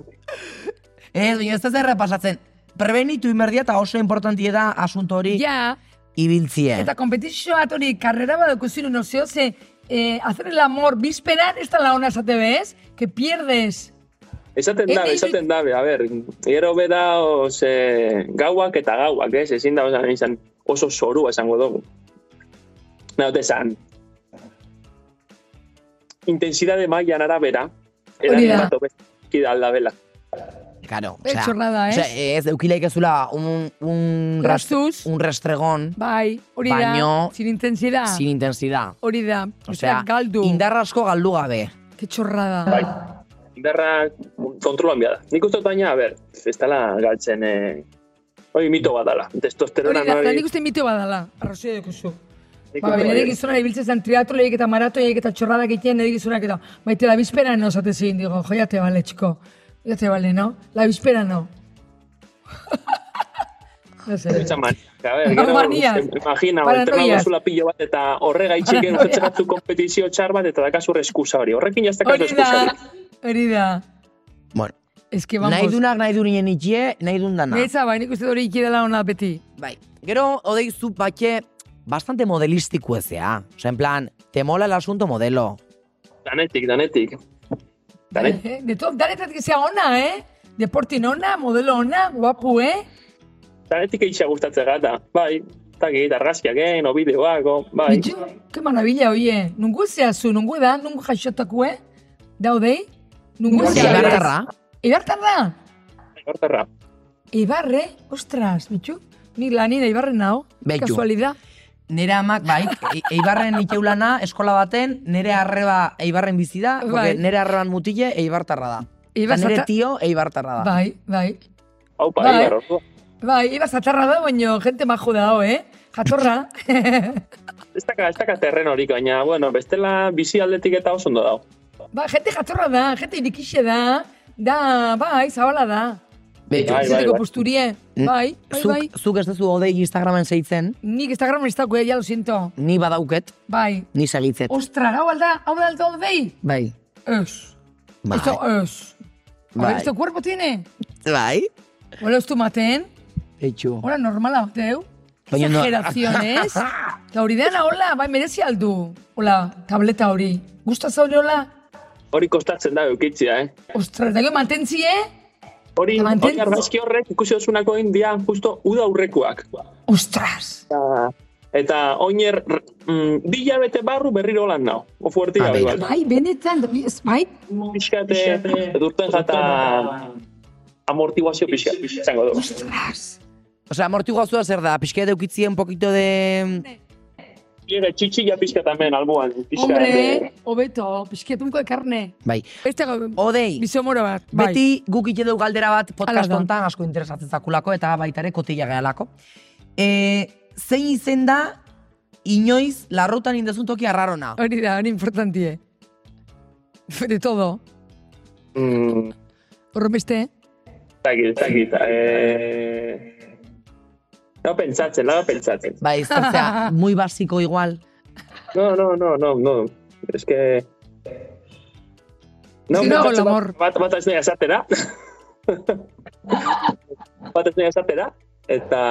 Speaker 3: Ez, baina ez da zerra pasatzen. Prebenitu inberdia eta oso importantia da asunto hori
Speaker 2: Ja.
Speaker 3: ibiltzien.
Speaker 2: Eta kompetizioa bat hori, karrera bat daukuzun, no sé, ze, eh, hacer el amor víspera, esta la ona esate bez, que pierdes.
Speaker 6: Esaten
Speaker 2: Ez
Speaker 6: dabe,
Speaker 2: da
Speaker 6: esaten dabe, a ber, gero beda os, eh, gauak eta gauak, ez, ezin da osan izan oso zorua esango dugu. Naute esan, intensidade mailan arabera,
Speaker 2: Hori da.
Speaker 6: eragin bat obezki da aldabela.
Speaker 3: Claro,
Speaker 2: Ez txorrada, eh?
Speaker 3: osea, ez, eukileik ezula un, un, rast-
Speaker 2: Rastuz.
Speaker 3: un rastregon
Speaker 2: Bai, hori da.
Speaker 3: Baino-
Speaker 2: Sin intensidad.
Speaker 3: sin intensidad.
Speaker 2: Hori da.
Speaker 3: Osea,
Speaker 2: Osea, galdu.
Speaker 3: indar asko Ah. galdu gabe.
Speaker 2: Ke txorrada.
Speaker 6: Bai. Indarra kontrolan behar da. Nik uste dut baina, a ber, ez dela galtzen, eh, hoi mito bat dala,
Speaker 2: Hori da,
Speaker 6: testosterona
Speaker 2: eta
Speaker 6: nori.
Speaker 2: nik uste este mito badala, arrazio dukuzu.
Speaker 6: nik
Speaker 2: Ba,
Speaker 6: uste
Speaker 2: nire
Speaker 6: bai.
Speaker 2: gizona ibiltzen zen triatloiek eta maratoiek eta txorradak egiten nire gizonak eta maite la bispera no zate zin, digo, jo, ya te vale, chico. Ya te vale, no? La bispera no. no sé.
Speaker 6: Esa manika, a ber, gero,
Speaker 2: Manias.
Speaker 6: imagina,
Speaker 2: Paranoias.
Speaker 6: entrenatu duzula pilo bat eta horregaitxik gero
Speaker 2: Paranoia.
Speaker 6: zertzu kompetizio txar bat eta dakazu eskusa hori. Horrekin jazta kasu
Speaker 2: Hori da,
Speaker 6: eskusa.
Speaker 2: hori da.
Speaker 3: Bueno,
Speaker 2: Es que vamos.
Speaker 3: nahi dunak nahi du nien itxie, nahi dun dana.
Speaker 2: Neiza, ba, nik uste dut hori ikirela ona beti.
Speaker 3: Bai. Gero, odei zu batxe, bastante modelistiko ezea. Osa, en plan, te mola el asunto modelo.
Speaker 6: Danetik, danetik. Danetik.
Speaker 2: Eh, De todo, dale que sea ona, eh? Deportin ona, modelo ona, guapu, eh?
Speaker 6: Danetik eixa gustatzen gata. Bai, eta gehit argazkiak eh, egin, obideoako, bai.
Speaker 2: Bitxu, que maravilla, oie. Nungu zehazu, nungu da, nungu jaixotakue, daudei? Nungu zehazu.
Speaker 3: Ibartarra.
Speaker 2: Ibartarra?
Speaker 6: Horterra.
Speaker 2: Ibarre, ostras, bitxu. Ni lani da Ibarre nao.
Speaker 3: Beitu.
Speaker 2: Kasualidad.
Speaker 3: Nire amak, bai, E- Eibarren ikeulana eskola baten, nire arreba Eibarren bizi da,
Speaker 2: Bai.
Speaker 3: porque nire arreban mutile Eibartarra da. Eta
Speaker 2: Eibar
Speaker 3: nire
Speaker 2: zata-
Speaker 3: tio Eibartarra da.
Speaker 2: Bai, bai.
Speaker 6: Haupa,
Speaker 2: Bai.
Speaker 6: bai. Ibar, ordua.
Speaker 2: Bai, Ibar zatarra da, baino gente majo da, ho, eh? Jatorra.
Speaker 6: Ez daka, ez daka terren horik, baina, bueno, bestela bizi aldetik eta oso ondo dago.
Speaker 2: ba, gente jatorra da, gente irikixe da. Da, bai, zabala da.
Speaker 3: Beitu.
Speaker 6: Bai, bai,
Speaker 2: Izateko
Speaker 6: bai.
Speaker 2: posturie. Bai, bai, bai.
Speaker 3: Mm. Zuk, zuk ez duzu odei Instagramen seitzen,
Speaker 2: Nik Instagramen ez dago, eh, ya lo siento.
Speaker 3: ni badauket,
Speaker 2: Bai.
Speaker 3: ni segitzet.
Speaker 2: Ostras, hau alda, hau alda, hau dei.
Speaker 3: Bai.
Speaker 2: Ez.
Speaker 3: Bai.
Speaker 2: Esto es. A ver,
Speaker 3: Bai.
Speaker 2: ¿este cuerpo tiene?
Speaker 3: Bai.
Speaker 2: Hola, estu maten.
Speaker 3: Beitu.
Speaker 2: Hola, normala, bateu.
Speaker 3: Baina no-
Speaker 2: Exageraciones. Eta hori dena, hola, bai, merezi aldu. Hola, tableta hori. Gusta zaure, hola?
Speaker 6: Hori kostatzen da eukitzia, eh?
Speaker 2: Ostras, dago mantentzi, eh?
Speaker 6: Hori,
Speaker 2: Manten-
Speaker 6: hori argazki horrek ikusi osunako india, justo uda aurrekoak.
Speaker 2: Ostras.
Speaker 6: Eta- Eta oiner, mm, bi hilabete barru berriro lan nao. O fuerti
Speaker 3: Ah,
Speaker 6: gabe,
Speaker 3: begira.
Speaker 6: bai.
Speaker 2: Bai, benetan, ez, bai.
Speaker 6: Piskate, edurten jata amortiguazio pixka, izango dugu.
Speaker 2: Ostras.
Speaker 3: Osea, amortiguazua zer da, pixka edeukitzi un poquito de...
Speaker 6: Llega txitsi ja pixka tamen, alboan. Pixka,
Speaker 2: Hombre, hobeto, pixketunko de carne.
Speaker 3: Bai.
Speaker 2: Este gau,
Speaker 3: Odei,
Speaker 2: bizomoro bat. Bai.
Speaker 3: beti guk ite dugu galdera bat
Speaker 2: Hala
Speaker 3: podcast
Speaker 2: da.
Speaker 3: hontan asko interesatzen zakulako eta baita ere kotila gehalako. E, zein izen da inoiz larrutan indezun toki arrarona?
Speaker 2: Hori da, hori importantie. De todo.
Speaker 6: Mm,
Speaker 2: Horren beste,
Speaker 6: Zagit, zagit. Eh... Lau pentsatzen, lau pentsatzen.
Speaker 3: Bai, ez da, zera, muy basiko igual.
Speaker 6: No, no, no, no, no. Es que...
Speaker 2: Sí, no,
Speaker 6: pentsatzen
Speaker 2: el
Speaker 6: bat-
Speaker 2: amor.
Speaker 6: Bat, bat ez nega esatera. bat ez nega esatera. Eta...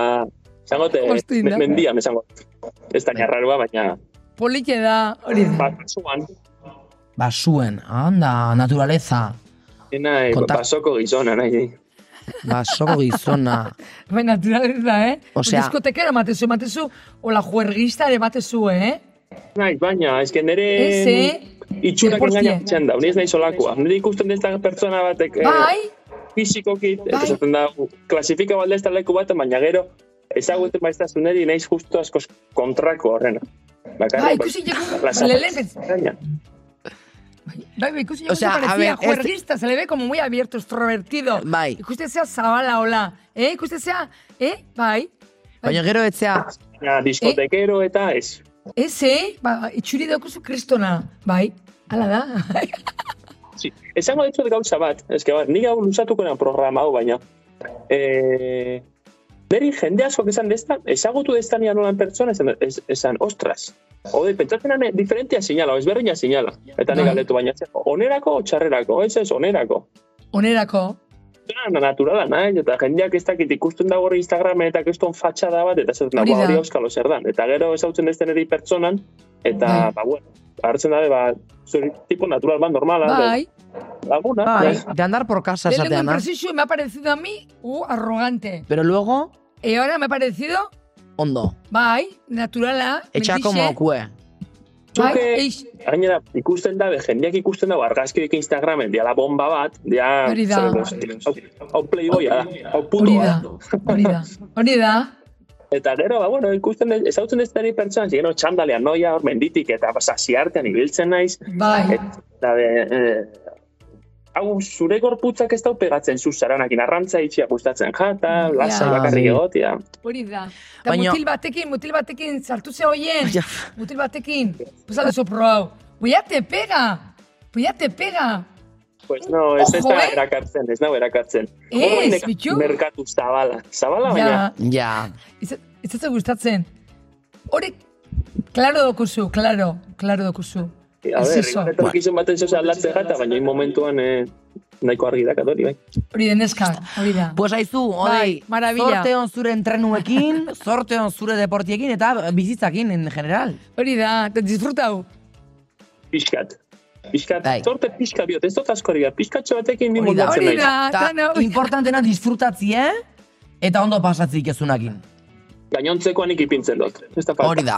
Speaker 6: Zangote,
Speaker 2: Ostin da.
Speaker 6: mendian esango. Ez da jarrarua, baina...
Speaker 2: polite da, hori da.
Speaker 6: Bakasuan,
Speaker 3: Ba, zuen, anda, naturaleza,
Speaker 6: ena eh,
Speaker 3: Konta-
Speaker 6: basoko gizona, nahi.
Speaker 3: basoko Ba, gizona.
Speaker 2: Bai, naturalez da, eh?
Speaker 3: Osea-
Speaker 2: Diskotekero matezu, matezu, hola juergista ere matezu, eh?
Speaker 6: Naiz, baina, ez que nire
Speaker 2: Ez, eh?
Speaker 6: itxurak
Speaker 2: Deportia.
Speaker 6: engainatzen da, nire ez nahi solakoa. Nire ikusten desta pertsona batek... eh,
Speaker 2: Bai,
Speaker 6: fizikokit, eta
Speaker 2: Bai.
Speaker 6: esaten da, klasifika balde ez da leku bat, baina gero, ezagutzen baiztasuneri naiz justu askoz kontrako horrena. Bakarrik,
Speaker 2: Ba,
Speaker 6: ba-
Speaker 2: ikusi
Speaker 6: plaza.
Speaker 2: lekuko, lehen, pens-
Speaker 6: Baina,
Speaker 2: bai, bai, ikusi
Speaker 3: O sea,
Speaker 2: lekuko
Speaker 3: a
Speaker 2: parecía
Speaker 3: ver, este-
Speaker 2: juerguista, se le ve como muy abierto, extrovertido.
Speaker 3: Bai.
Speaker 2: Ikusten zea zabala, hola. Eh, ikusten zea, eh, bai.
Speaker 3: Baina gero etzea,
Speaker 6: baina diskotekero eta ez.
Speaker 2: Ez, eh, ba, itxuri daukuzu kristona, bai. Hala da.
Speaker 6: Sí. Esango ditut gauza bat, eske bat, nik hau luzatuko nan programa hau, baina. E, neri jende askok esan desta, ezagutu desta nian olan pertsona, esan, es- esan ostras. Hode, pentsatzen ane, diferentia sinala, o ezberdina sinala. Eta nik
Speaker 2: Bai.
Speaker 6: galdetu baina, ze, onerako o txarrerako, ez ez, onerako.
Speaker 2: Onerako.
Speaker 6: Dana naturala, nahi, eta jendeak ez dakit ikusten da hori Instagramen eta keston fatxada bat, eta esaten da,
Speaker 2: Hori
Speaker 6: "Ba, hori
Speaker 2: da.
Speaker 6: auskalo zer dan. Eta gero ezautzen desten eri pertsonan, eta,
Speaker 2: Bai.
Speaker 6: ba, bueno, hartzen dabe, ba, zuri tipo natural bat normala,
Speaker 2: Bai.
Speaker 6: de laguna,
Speaker 3: bai,
Speaker 6: nahi.
Speaker 3: de andar por casa
Speaker 2: Del lenguaje
Speaker 3: esatean, ah.
Speaker 2: impreciso me ha parecido a mí uh, arrogante.
Speaker 3: Pero luego,
Speaker 2: Y ahora me ha parecido,
Speaker 3: ondo.
Speaker 2: bai, naturala,
Speaker 3: Etxa como kue.
Speaker 2: bai,
Speaker 6: Zuke-
Speaker 2: eix,
Speaker 6: Gainera, ikusten da, jendeak ikusten da, argazkirik Instagramen, diala bomba bat, dia,
Speaker 2: Hori da.
Speaker 6: zer- hau, hau playboya da, hau puto
Speaker 2: hori
Speaker 6: da.
Speaker 2: da, hori da, hori da.
Speaker 6: Eta gero, ba, bueno, ikusten, ez- ezautzen ez deri pertsonan, zigeno, txandalean noia, hor menditik, eta sasi artean ibiltzen naiz,
Speaker 2: Bai,
Speaker 6: eta be, eh, hau zure gorputzak ez dau pegatzen zu zaranakin, arrantza itxia gustatzen jata, lasai
Speaker 2: Ja.
Speaker 6: bakarrik
Speaker 3: Bai.
Speaker 6: egotia.
Speaker 2: hori da. Eta
Speaker 3: Baina-
Speaker 2: mutil batekin, mutil batekin, sartu ze hoien,
Speaker 3: Ja,
Speaker 2: mutil batekin. Pues ala sopro hau. Pues ya te pega, pues ya te pega.
Speaker 6: Pues no, ez ez da
Speaker 2: Ojo, eh?
Speaker 6: erakartzen, ez nau erakartzen.
Speaker 2: Ez,
Speaker 6: Hor neka-
Speaker 2: bitxu.
Speaker 6: Merkatu zabala, zabala baina,
Speaker 2: Ja,
Speaker 3: ja.
Speaker 2: ez ez zaizu gustatzen. Hori, klaro dokuzu, klaro, klaro dokuzu.
Speaker 6: a
Speaker 2: Ez
Speaker 6: ber,
Speaker 2: eso.
Speaker 6: igual etorkizun baten zoza aldatzen jata, baina in momentuan eh, nahiko argi dakat hori, bai.
Speaker 2: Hori deneska, hori da.
Speaker 3: Pues aizu, odei,
Speaker 2: Bai, maravilla.
Speaker 3: zorte on zure entrenuekin, zorte on zure deportiekin eta bizitzakin en general.
Speaker 2: Hori da, eta disfrutau.
Speaker 6: Pixkat. Pixkat,
Speaker 3: Bai.
Speaker 6: zorte pixka biot, ez dut askori bat, pixkatxo batekin bi
Speaker 3: Hori da,
Speaker 6: moldatzen
Speaker 2: hori
Speaker 6: naiz.
Speaker 2: da.
Speaker 3: Eta
Speaker 2: dana hori da.
Speaker 3: importantena disfrutatzie eta ondo pasatzik ezunakin.
Speaker 6: Gainontzekoan ikipintzen dut. Ez da falta.
Speaker 3: Hori da.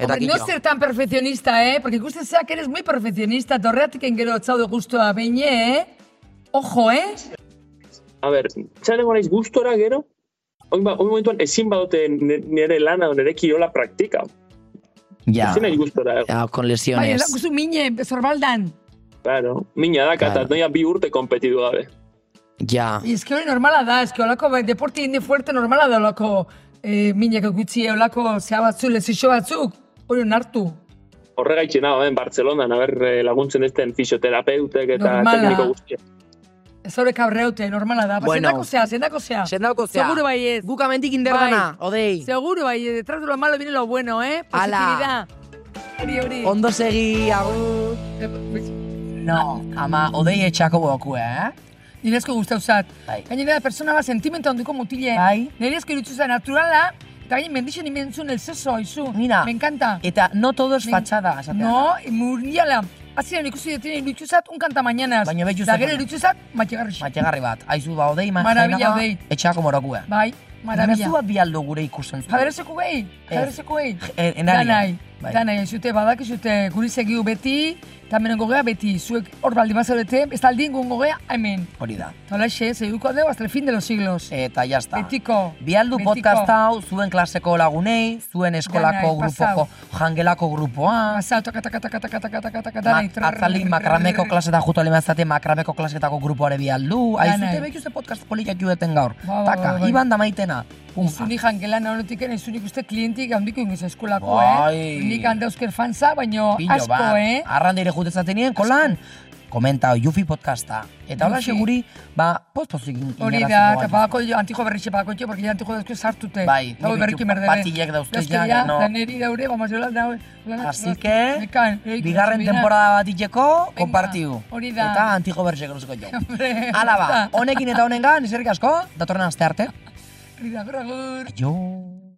Speaker 3: Eta
Speaker 2: Hombre, no
Speaker 3: kito.
Speaker 2: ser tan perfeccionista, ¿eh? Porque ikusten sea que eres muy perfeccionista. Torreatik engero txaude guztua behin, ¿eh? Ojo, ¿eh?
Speaker 6: A ber, txaren naiz gustora gero, oin, ba, oin momentuan ezin badote ne- nire lana o nire kirola praktika.
Speaker 3: Ja,
Speaker 6: Ezin naiz gustora,
Speaker 3: ja, con
Speaker 2: Bai,
Speaker 3: lesiones.
Speaker 2: lakuzu mine, zorbaldan.
Speaker 6: claro. Mina da,
Speaker 3: Claro.
Speaker 6: kata, noia bi urte kompetidu gabe.
Speaker 3: Ja,
Speaker 2: Y es que hori normala da, es que holako be- deporte indi fuerte normala da holako eh, minek gutxi, holako zea batzu, lezixo batzuk. Hori onartu.
Speaker 6: Horregaitxe nago, hemen Bartzelonan, haber laguntzen ezten fisioterapeutek eta
Speaker 2: Normala.
Speaker 6: tekniko guztiak.
Speaker 2: Ez hori kabreute, normala da.
Speaker 3: Bueno.
Speaker 2: Bueno. Zendako zea, zendako zea.
Speaker 3: Sendauko zea.
Speaker 2: Seguro bai ez.
Speaker 3: Guk amendik inderdana,
Speaker 2: Bai.
Speaker 3: odei.
Speaker 2: Seguro, bai, detrás de lo malo viene lo bueno, ¿eh?
Speaker 3: Ala.
Speaker 2: Positividad. Hori, hori.
Speaker 3: Ondo segi, agur.
Speaker 2: Eh, pues,
Speaker 3: No, ama, odei etxako bokue, eh?
Speaker 2: Nirezko guztau zat.
Speaker 3: Bai.
Speaker 2: Gainera, persona bat sentimento handiko mutile.
Speaker 3: Bai.
Speaker 2: Nirezko irutzu zen naturala, eta gain mendixen imentzun el seso, izu.
Speaker 3: Mira.
Speaker 2: Me encanta.
Speaker 3: Eta no todo es
Speaker 2: Me-
Speaker 3: fachada, esatea.
Speaker 2: No, muriala. Azien ikusi detien irutzu zat, un kanta mañanas.
Speaker 3: Baina betxu
Speaker 2: Da
Speaker 3: zat.
Speaker 2: gero irutzu zat, matxegarrix.
Speaker 3: Matxegarri bat, aizu ba, odei, ma,
Speaker 2: Maravilla,
Speaker 3: jainaka,
Speaker 2: odei.
Speaker 3: etxako eh? morokue.
Speaker 2: Bai,
Speaker 3: Mezu
Speaker 2: maravilla.
Speaker 3: bat bialdo gure ikusten zuen.
Speaker 2: Jaderezeko behi,
Speaker 3: Ez.
Speaker 2: jaderezeko behi.
Speaker 3: E- enaria.
Speaker 2: Danai,
Speaker 3: Bai.
Speaker 2: danai, zute badak, zute guri segiu beti, eta menengo gea beti, zuek hor baldi bazaurete, ez taldien gongo gea, hemen.
Speaker 3: Hori da.
Speaker 2: Eta hola xe, seguiko deu hasta el fin de los siglos.
Speaker 3: Eta jazta.
Speaker 2: Betiko.
Speaker 3: Bialdu
Speaker 2: betiko.
Speaker 3: podcast hau zuen klaseko lagunei, zuen eskolako
Speaker 2: Danai,
Speaker 3: grupoko, jangelako grupoa,
Speaker 2: Pasau, taka, taka, taka, taka, taka, taka, taka,
Speaker 3: ma,
Speaker 2: danai, trrrr,
Speaker 3: atzaldi
Speaker 2: trrrr,
Speaker 3: makrameko
Speaker 2: trrrr.
Speaker 3: klasetan jutu alimazate makrameko klasetako grupoare bialdu, aizute
Speaker 2: Danai.
Speaker 3: behitu ze podcast politak jueten gaur.
Speaker 2: Ba, ba,
Speaker 3: Taka,
Speaker 2: ba, ah, ba.
Speaker 3: iban da maitena. Pumpa.
Speaker 2: Zuni jangelan honetik ere, zunik uste klientik handiko ingiz eskolako,
Speaker 3: Bai.
Speaker 2: eh? Nik handa eusker fanza, baino
Speaker 3: Pilo
Speaker 2: asko,
Speaker 3: bat.
Speaker 2: eh?
Speaker 3: Arrandeire jutezaten nien, kolan. Komenta, Yufi podcasta. Eta hola
Speaker 2: Yufi.
Speaker 3: seguri, ba, postpozik inarazuko.
Speaker 2: Hori da, eta badako jo, antijo berrixe badako jo, porque ya antijo dauzko sartute.
Speaker 3: Bai,
Speaker 2: Dago
Speaker 3: nik
Speaker 2: berriki
Speaker 3: ditu,
Speaker 2: merdere.
Speaker 3: patillak dauzke ja,
Speaker 2: ja,
Speaker 3: no.
Speaker 2: no. Daneri daure, vamos jola, daure. daure-
Speaker 3: Así
Speaker 2: daure-
Speaker 3: que,
Speaker 2: Nekan, eik,
Speaker 3: bigarren
Speaker 2: subina.
Speaker 3: temporada bat itxeko,
Speaker 2: Venga,
Speaker 3: kompartiu.
Speaker 2: hori da.
Speaker 3: Eta antigo berxeko luzeko jo.
Speaker 2: Hombre,
Speaker 3: Ala ba,
Speaker 2: hori da.
Speaker 3: honekin eta honengan, eskerrik asko, datorren aste arte.
Speaker 2: Hori da, gora, gora.
Speaker 3: Jo.